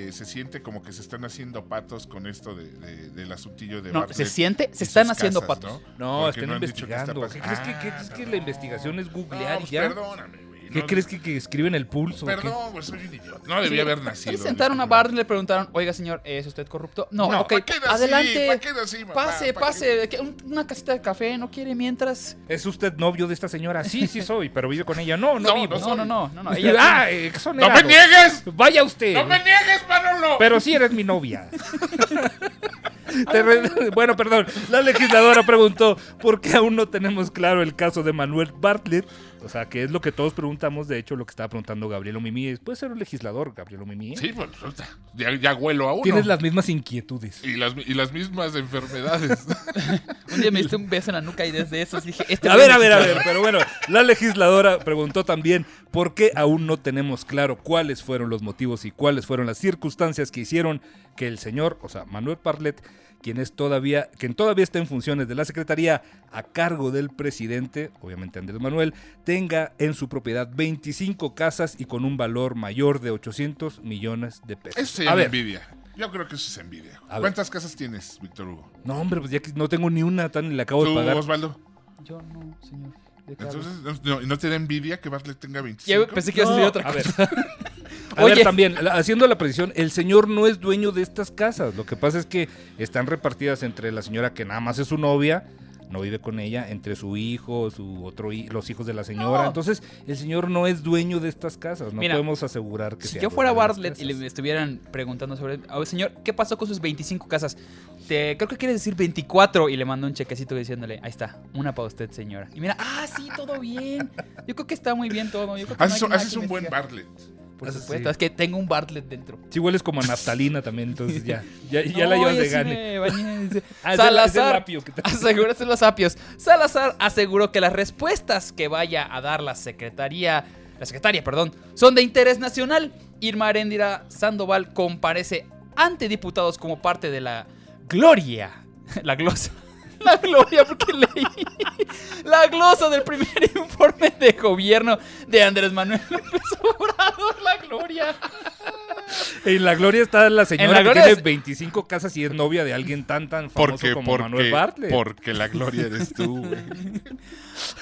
Speaker 7: que se siente como que se están haciendo patos con esto de- de- del asuntillo de
Speaker 4: No,
Speaker 7: Bartlett
Speaker 4: se siente, se
Speaker 7: y
Speaker 4: están
Speaker 7: sus
Speaker 4: haciendo
Speaker 7: casas,
Speaker 4: patos.
Speaker 5: No,
Speaker 7: Porque
Speaker 5: están
Speaker 7: han dicho qué está
Speaker 5: investigando. ¿Qué crees
Speaker 7: pasando.
Speaker 5: que, qué crees que la investigación es
Speaker 7: Ah,
Speaker 5: googlear
Speaker 7: no,
Speaker 5: y
Speaker 7: pues
Speaker 5: ya?
Speaker 7: perdóname, güey.
Speaker 5: ¿Qué
Speaker 7: no,
Speaker 5: crees que, que escriben el pulso? o qué?
Speaker 7: Perdón, güey, soy un idiota. No debía haber
Speaker 4: Se
Speaker 7: nacido.
Speaker 4: sentaron a Bartlett, le preguntaron, oiga señor, ¿es usted corrupto? No,
Speaker 7: No,
Speaker 4: ok,
Speaker 7: ¿pa' qué nací? ¿Pa'
Speaker 4: adelante,
Speaker 7: qué nací, mamá?
Speaker 4: pase,
Speaker 7: ¿Pa' qué?
Speaker 4: pase, ¿qué- un- una casita de café, ¿no quiere mientras?
Speaker 5: ¿Es usted novio de esta señora? Sí, sí soy, pero vive con ella. No, no,
Speaker 7: No, eh,
Speaker 5: vivo.
Speaker 4: No, no, no, no, no, ella-
Speaker 5: ah,
Speaker 7: ¡No
Speaker 5: exonerado.
Speaker 7: me niegues!
Speaker 5: Vaya usted.
Speaker 7: ¡No me niegues, Manolo!
Speaker 5: Pero sí eres mi novia. Te re- Bueno, perdón. La legisladora preguntó por qué aún no tenemos claro el caso de Manuel Bartlett. O sea, que es lo que todos preguntamos. De hecho, lo que estaba preguntando Gabriel Omimí es, ¿puedes ser un legislador, Gabriel Omimí?
Speaker 7: Sí, pues resulta, ya, ya huelo a uno.
Speaker 5: Tienes las mismas inquietudes.
Speaker 7: Y, las, y las mismas enfermedades.
Speaker 4: Un día me diste un beso en la nuca y desde eso dije, este
Speaker 5: A ver, a ver, a ver, pero bueno, la legisladora preguntó también por qué aún no tenemos claro cuáles fueron los motivos y cuáles fueron las circunstancias que hicieron que el señor, o sea, Manuel Parlet, quien es todavía, quien todavía está en funciones de la Secretaría a cargo del presidente, obviamente Andrés Manuel, tenga en su propiedad 25 casas y con un valor mayor de 800 millones de pesos.
Speaker 7: Eso se
Speaker 5: a
Speaker 7: llama
Speaker 5: ver,
Speaker 7: envidia. Yo creo que eso es envidia.
Speaker 5: A ver.
Speaker 7: ¿Cuántas casas tienes, Víctor Hugo?
Speaker 5: no hombre, pues ya que no tengo ni una tan le acabo de
Speaker 7: Tú,
Speaker 5: pagar.
Speaker 7: Osvaldo.
Speaker 4: Yo no, señor. ¿de qué hablas?
Speaker 7: Entonces, no, no te da envidia que Bartlett tenga
Speaker 4: Ya
Speaker 7: 25?
Speaker 4: pensé que iba a decir otra
Speaker 5: a
Speaker 4: cosa.
Speaker 5: ver. A
Speaker 4: Oye.
Speaker 5: ver, también, la- haciendo la precisión, el señor no es dueño de estas casas. Lo que pasa es que están repartidas entre la señora que nada más es su novia, no vive con ella, entre su hijo, su otro hi- los hijos de la señora.
Speaker 4: No.
Speaker 5: Entonces, el señor no es dueño de estas casas. No
Speaker 4: Mira,
Speaker 5: podemos asegurar que
Speaker 4: Si
Speaker 5: sea
Speaker 4: yo fuera
Speaker 5: dueño de las
Speaker 4: Bartlett y
Speaker 5: casas.
Speaker 4: le estuvieran preguntando sobre, a ver, señor, ¿qué pasó con sus 25 casas? Te, creo que quiere decir 24 y le mando un chequecito diciéndole, ahí está, una para usted, señora. Y mira, ah, sí, todo bien. Yo creo que está muy bien todo. Yo creo que
Speaker 5: Ah,
Speaker 4: no
Speaker 7: Haces,
Speaker 4: hay nada
Speaker 7: haces
Speaker 4: que
Speaker 7: un ah, buen
Speaker 4: investigar.
Speaker 7: Bartlett.
Speaker 4: Por
Speaker 5: Haces-
Speaker 4: supuesto,
Speaker 5: Ah, sí.
Speaker 4: es que tengo un Bartlett dentro.
Speaker 5: Si hueles como a naftalina también, entonces ya, ya, ya la
Speaker 4: No,
Speaker 5: llevas
Speaker 4: yo
Speaker 5: de
Speaker 4: sí
Speaker 5: gane.
Speaker 4: me bañé, dice.
Speaker 5: Ah, es del- es del
Speaker 4: Salazar
Speaker 5: apio que te-
Speaker 4: aseguró es de los apios. Salazar aseguró que las respuestas que vaya a dar la secretaría, la secretaria, perdón, son de interés nacional. Irma Aréndira Sandoval comparece ante diputados como parte de la gloria, la glosa. La gloria, porque leí la glosa del primer informe de gobierno de Andrés Manuel López Obrador. La gloria.
Speaker 5: En la gloria está la señora
Speaker 4: la
Speaker 5: que
Speaker 4: gloria
Speaker 5: tiene
Speaker 4: es-
Speaker 5: 25 casas y es novia de alguien tan tan famoso
Speaker 7: Porque,
Speaker 5: como Manuel
Speaker 7: porque,
Speaker 5: Bartlett.
Speaker 7: porque la gloria eres tú, güey.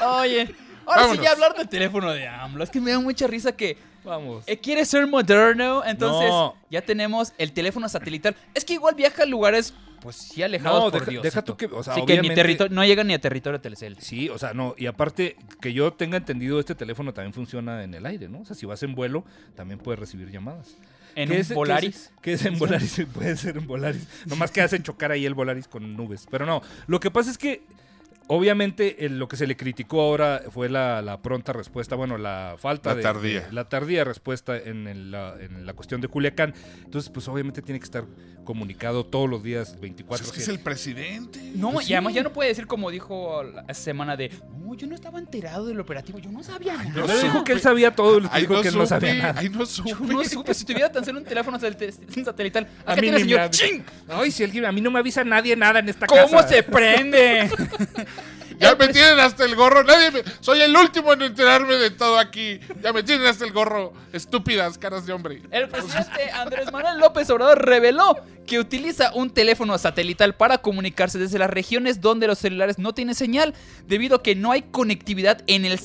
Speaker 4: Oye, ahora sí
Speaker 7: Vámonos.
Speaker 4: ya hablar del teléfono de AMLO. Es que me da mucha risa que
Speaker 5: Vamos.
Speaker 4: eh, quiere ser moderno, entonces
Speaker 5: No.
Speaker 4: ya tenemos el teléfono satelital. Es que igual viaja a lugares, pues sí, alejados
Speaker 5: No,
Speaker 4: por
Speaker 5: deja-
Speaker 4: Diosito.
Speaker 5: deja tú que- o sea,
Speaker 4: Así que ni
Speaker 5: obviamente-
Speaker 4: territorio- no llega ni a territorio Telecel.
Speaker 5: Sí, o sea, no, y aparte que yo tenga entendido, este teléfono también funciona en el aire, ¿no? O sea, si vas en vuelo, también puedes recibir llamadas.
Speaker 4: En
Speaker 5: ¿Qué
Speaker 4: un
Speaker 5: es- qué es-
Speaker 4: Volaris.
Speaker 5: ¿Qué es en Volaris? Puede ser en Volaris. Nomás que hacen chocar ahí el Volaris con nubes. Pero no, lo que pasa es que, obviamente, eh, lo que se le criticó ahora fue la, la pronta respuesta, bueno, la falta
Speaker 7: La
Speaker 5: de-
Speaker 7: tardía.
Speaker 5: de- la tardía respuesta en, el- la, en la cuestión de Culiacán. Entonces, pues obviamente tiene que estar comunicado todos los días
Speaker 7: Pues
Speaker 5: 24
Speaker 7: es que es el presidente. Pues
Speaker 4: No,
Speaker 5: Pues
Speaker 4: y además ya no puede decir como dijo la semana de, no, yo no estaba enterado del operativo, yo no sabía nada.
Speaker 7: no
Speaker 5: Le dijo
Speaker 7: supe.
Speaker 5: que él sabía todo, le
Speaker 7: Ahí
Speaker 5: dijo
Speaker 7: no
Speaker 5: que él no sabía
Speaker 7: supe,
Speaker 5: nada.
Speaker 7: ahí no supe.
Speaker 4: Yo no supe, si tuviera tan solo un teléfono satel- satelital,
Speaker 5: A
Speaker 4: acá
Speaker 5: mí
Speaker 4: tiene
Speaker 5: ni me
Speaker 4: señor,
Speaker 5: av-
Speaker 4: ¡ching!
Speaker 5: Ay, si alguien, a mí no me avisa nadie nada en esta
Speaker 4: ¿Cómo
Speaker 5: casa.
Speaker 4: se prende?
Speaker 7: Yo Ya me tienen hasta el gorro. Nadie me- Soy el último en enterarme de todo aquí. Ya me tienen hasta el gorro. Estúpidas caras de hombre.
Speaker 4: El presidente Andrés Manuel López Obrador reveló que utiliza un teléfono satelital para comunicarse desde las regiones donde los celulares no tienen señal, debido a que no hay conectividad en el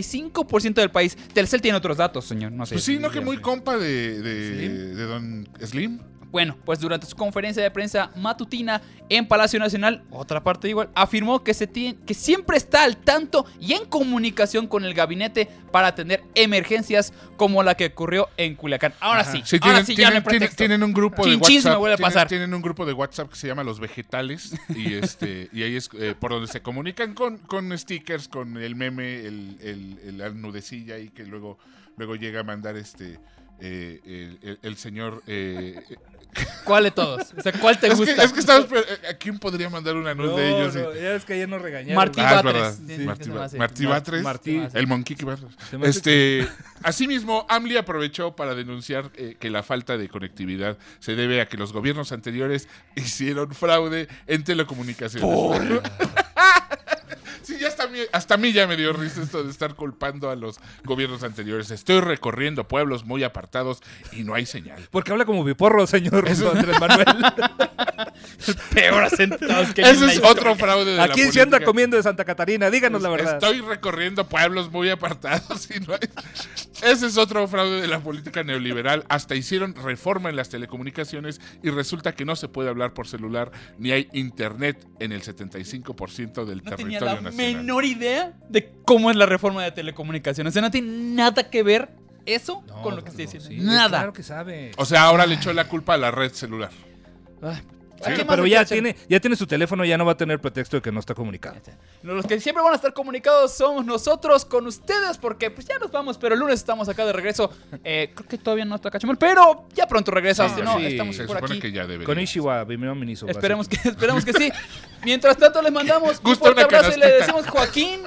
Speaker 4: 75% del país. Telcel tiene otros datos, señor. No sé.
Speaker 7: Pues sí, no que muy compa de, de, de Don Slim.
Speaker 4: Bueno, pues durante su conferencia de prensa matutina en Palacio Nacional, otra parte igual, afirmó que, se tie- que siempre está al tanto y en comunicación con el gabinete para atender emergencias como la que ocurrió en Culiacán. Ahora sí,
Speaker 7: Sí, tienen,
Speaker 4: ahora sí, ya no hay
Speaker 7: tienen, tienen-
Speaker 4: pretexto.
Speaker 7: tienen un grupo de
Speaker 4: Chin, chin, se
Speaker 7: WhatsApp.
Speaker 4: me vuelve a
Speaker 7: tienen,
Speaker 4: pasar.
Speaker 7: tienen un grupo de WhatsApp que se llama Los Vegetales. Y este, y ahí es eh, por donde se comunican con, con stickers, con el meme, el, el, el la nudecilla ahí que luego, luego llega a mandar este eh, el, el- el señor eh,
Speaker 4: ¿Cuál de todos? O sea, ¿cuál te
Speaker 7: es,
Speaker 4: gusta?
Speaker 7: Que, es que estaba esper- ¿A quién podría mandar una nud
Speaker 5: No,
Speaker 7: de ellos?
Speaker 5: no, ya es que ayer nos regañaron.
Speaker 4: Martí
Speaker 7: Ah, es
Speaker 4: Batres.
Speaker 7: verdad.
Speaker 4: Sí,
Speaker 7: Martí,
Speaker 4: se me
Speaker 7: Ba-
Speaker 4: hace.
Speaker 7: Martí
Speaker 4: No,
Speaker 7: Batres.
Speaker 5: Martí.
Speaker 7: El Monkey Batres.
Speaker 5: Se me hace
Speaker 7: Este, asimismo, AMLI aprovechó para denunciar eh, que la falta de conectividad se debe a que los gobiernos anteriores hicieron fraude en telecomunicaciones. Sí, ya hasta, a mí, hasta a mí ya me dio risa esto de estar culpando a los gobiernos anteriores. Estoy recorriendo pueblos muy apartados y no hay señal.
Speaker 5: Porque habla como biporro, señor don Andrés Manuel.
Speaker 4: Peor asentados que
Speaker 7: Ese
Speaker 4: en la
Speaker 7: es
Speaker 4: historia.
Speaker 7: otro fraude de
Speaker 5: ¿A
Speaker 7: la
Speaker 5: quién se anda
Speaker 7: política.
Speaker 5: comiendo de Santa Catarina? Díganos la verdad.
Speaker 7: Estoy recorriendo pueblos muy apartados y no hay- Ese es otro fraude de la política neoliberal. Hasta hicieron reforma en las telecomunicaciones y resulta que no se puede hablar por celular ni hay internet en el 75% del
Speaker 4: No tenía
Speaker 7: territorio
Speaker 4: la
Speaker 7: nacional.
Speaker 4: menor idea de cómo es la reforma de telecomunicaciones. O sea, no tiene nada que ver eso con lo que estoy diciendo.
Speaker 5: sí,
Speaker 4: nada.
Speaker 5: Claro que sabe.
Speaker 7: O sea, ahora le echó la culpa a la red celular.
Speaker 4: Ay, ¿a
Speaker 5: Bueno,
Speaker 4: qué más
Speaker 5: pero
Speaker 4: le
Speaker 5: ya
Speaker 4: echan?
Speaker 5: tiene, ya tiene su teléfono, ya no va a tener pretexto de que no está comunicado.
Speaker 4: Los que siempre van a estar comunicados somos nosotros con ustedes porque pues ya nos vamos, pero el lunes estamos acá de regreso. Eh, creo que todavía no está Cachemol, pero ya pronto regresa.
Speaker 5: Sí,
Speaker 4: si no,
Speaker 5: sí,
Speaker 4: estamos
Speaker 7: Se
Speaker 4: por
Speaker 7: supone
Speaker 4: aquí.
Speaker 7: que ya debería.
Speaker 5: Con Ishiwa, bienvenido ministro.
Speaker 4: Esperemos que, esperemos que sí. Mientras tanto, les mandamos un
Speaker 7: Gusta una
Speaker 4: fuerte abrazo y le
Speaker 7: canastita.
Speaker 4: decimos Joaquín.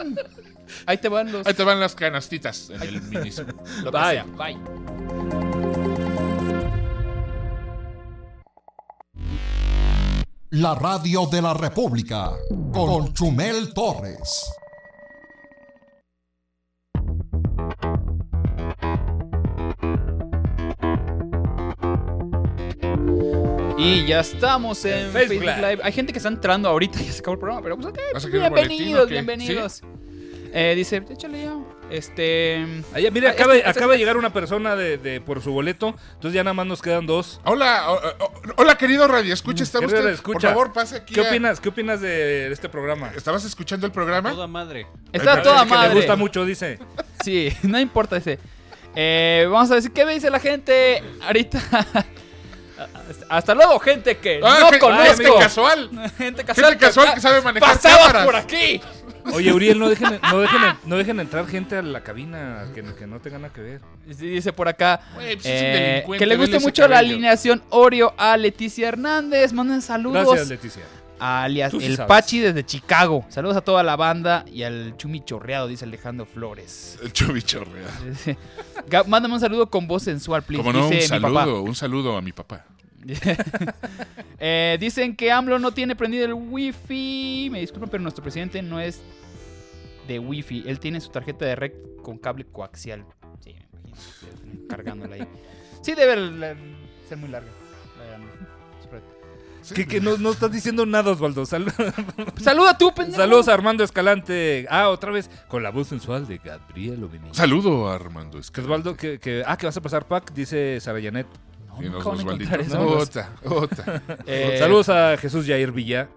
Speaker 4: Ahí te van los.
Speaker 7: Ahí te van las canastitas en el minismo.
Speaker 4: lo que sea. Bye.
Speaker 1: La radio de la República con Chumel Torres.
Speaker 4: Y ya estamos en
Speaker 5: En
Speaker 4: Facebook,
Speaker 5: Facebook
Speaker 4: Live. Hay gente que está entrando ahorita, ya se acabó el programa, pero pues ok,
Speaker 7: ¿Vas a querer un boletín
Speaker 4: bienvenidos,
Speaker 7: o qué?
Speaker 4: bienvenidos. Eh, dice, échale ya. Este.
Speaker 5: Allá, mira,
Speaker 4: Ah,
Speaker 5: acaba,
Speaker 4: este- este-
Speaker 5: acaba de llegar una persona de, de- por su boleto, entonces ya nada más nos quedan dos.
Speaker 7: Hola, o- o- hola querido Radio Escucha, ¿está
Speaker 5: Querido
Speaker 7: usted? Por
Speaker 5: radioescucha,
Speaker 7: favor, pase aquí.
Speaker 5: ¿Qué
Speaker 7: a-
Speaker 5: opinas? ¿Qué opinas de este programa?
Speaker 7: ¿Estabas escuchando el programa?
Speaker 6: Toda madre.
Speaker 4: Está
Speaker 5: El
Speaker 4: toda
Speaker 5: que
Speaker 4: madre.
Speaker 5: Le gusta mucho, dice.
Speaker 4: Sí, no importa ese. Eh, vamos a decir qué me dice la gente ahorita. Hasta luego, gente que
Speaker 7: Ah,
Speaker 4: no
Speaker 7: gente- gente
Speaker 4: conozco.
Speaker 7: casual.
Speaker 4: Gente casual,
Speaker 7: casual que sabe manejar
Speaker 4: pasaba
Speaker 7: cámaras.
Speaker 4: por aquí.
Speaker 5: Oye, Uriel, no dejen, no dejen, no dejen entrar gente a la cabina que, que no tenga nada que ver.
Speaker 4: Sí, dice por acá
Speaker 7: Güey, pues es un
Speaker 4: eh,
Speaker 7: delincuente,
Speaker 4: que le guste
Speaker 7: vele ese
Speaker 4: mucho la
Speaker 7: cabello.
Speaker 4: alineación Oreo a Leticia Hernández. Manden saludos
Speaker 5: Gracias, Leticia.
Speaker 4: alias
Speaker 5: Tú sí
Speaker 4: El
Speaker 5: sabes.
Speaker 4: Pachi desde Chicago. Saludos a toda la banda y al Chumi Chorreado, dice Alejandro Flores.
Speaker 7: El chubichorrea.
Speaker 4: Dice, "Gab, Mándame un saludo con voz sensual, please.
Speaker 7: Como no, un
Speaker 4: dice mi papá.
Speaker 7: saludo, un saludo a mi papá.
Speaker 4: Eh, dicen que AMLO no tiene prendido el wifi. Me disculpan, pero nuestro presidente no es de wifi. Él tiene su tarjeta de red con cable coaxial. Sí, me imagino. Cargándola ahí. Sí, debe la- ser muy larga. la de AMLO, su red.
Speaker 5: Que, que no, no estás diciendo nada, Osvaldo. Sal-
Speaker 4: Saluda tú, pendejo.
Speaker 5: Saludos a Armando Escalante. Ah, otra vez con la voz sensual de Gabriel Ovini.
Speaker 7: Saludo a Armando
Speaker 5: Que
Speaker 7: Escalante.
Speaker 5: Osvaldo, que, que- ah, que vas a pasar pack, dice Sara Janet.
Speaker 4: No,
Speaker 7: Y nos
Speaker 4: nunca van a
Speaker 7: Osvaldito.
Speaker 4: encontrar eso.
Speaker 7: Ota, ota.
Speaker 4: Eh,
Speaker 5: Saludos a Jesús Jair Villa.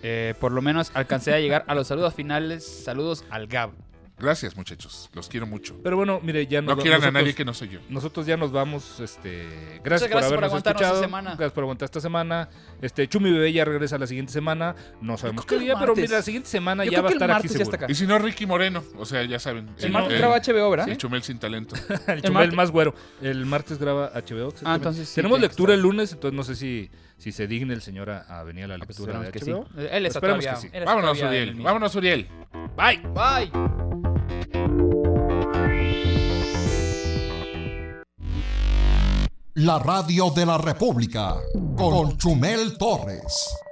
Speaker 4: eh, por lo menos alcancé a llegar a los saludos finales. Saludos al Gab.
Speaker 7: Gracias, muchachos. Los quiero mucho.
Speaker 5: Pero bueno, mire, ya
Speaker 7: No
Speaker 5: nos va-
Speaker 7: quieran a
Speaker 5: nosotros-
Speaker 7: nadie que no soy yo.
Speaker 5: Nosotros ya nos vamos. Este,
Speaker 4: Muchas
Speaker 5: gracias,
Speaker 4: gracias por
Speaker 5: por habernos
Speaker 4: aguantarnos
Speaker 5: escuchado.
Speaker 4: esta semana.
Speaker 5: Gracias por aguantar esta semana. Este, Chumi Bebé ya regresa la siguiente semana. No sabemos
Speaker 4: creo
Speaker 5: qué
Speaker 4: que
Speaker 5: día,
Speaker 4: el
Speaker 5: pero
Speaker 4: martes.
Speaker 5: mira, la siguiente semana
Speaker 4: Yo
Speaker 5: ya
Speaker 4: creo
Speaker 5: va a
Speaker 4: que el
Speaker 5: estar aquí
Speaker 4: martes ya está
Speaker 5: seguro.
Speaker 4: acá.
Speaker 7: Y si no, Ricky Moreno. O sea, ya saben.
Speaker 4: El martes
Speaker 7: eh,
Speaker 4: graba HBO, ¿verdad?
Speaker 7: el Chumel sin talento.
Speaker 5: El
Speaker 4: martes-
Speaker 5: Chumel más güero. El martes graba HBO. exactamente.
Speaker 4: Ah, entonces sí,
Speaker 5: Tenemos
Speaker 4: tiene que
Speaker 5: lectura
Speaker 4: estar.
Speaker 5: el lunes, entonces no sé si, si se digne el señor a, a venir a la
Speaker 4: Pues
Speaker 5: lectura
Speaker 4: esperemos
Speaker 5: de
Speaker 4: que sí.
Speaker 5: HBO.
Speaker 4: Él está
Speaker 5: Esperemos
Speaker 4: todavía-
Speaker 5: que sí.
Speaker 4: él está
Speaker 7: Vámonos,
Speaker 4: todavía en el
Speaker 7: Uriel.
Speaker 4: mismo.
Speaker 7: Vámonos, Uriel.
Speaker 4: Bye. Bye.
Speaker 1: La radio de la República con Chumel Torres.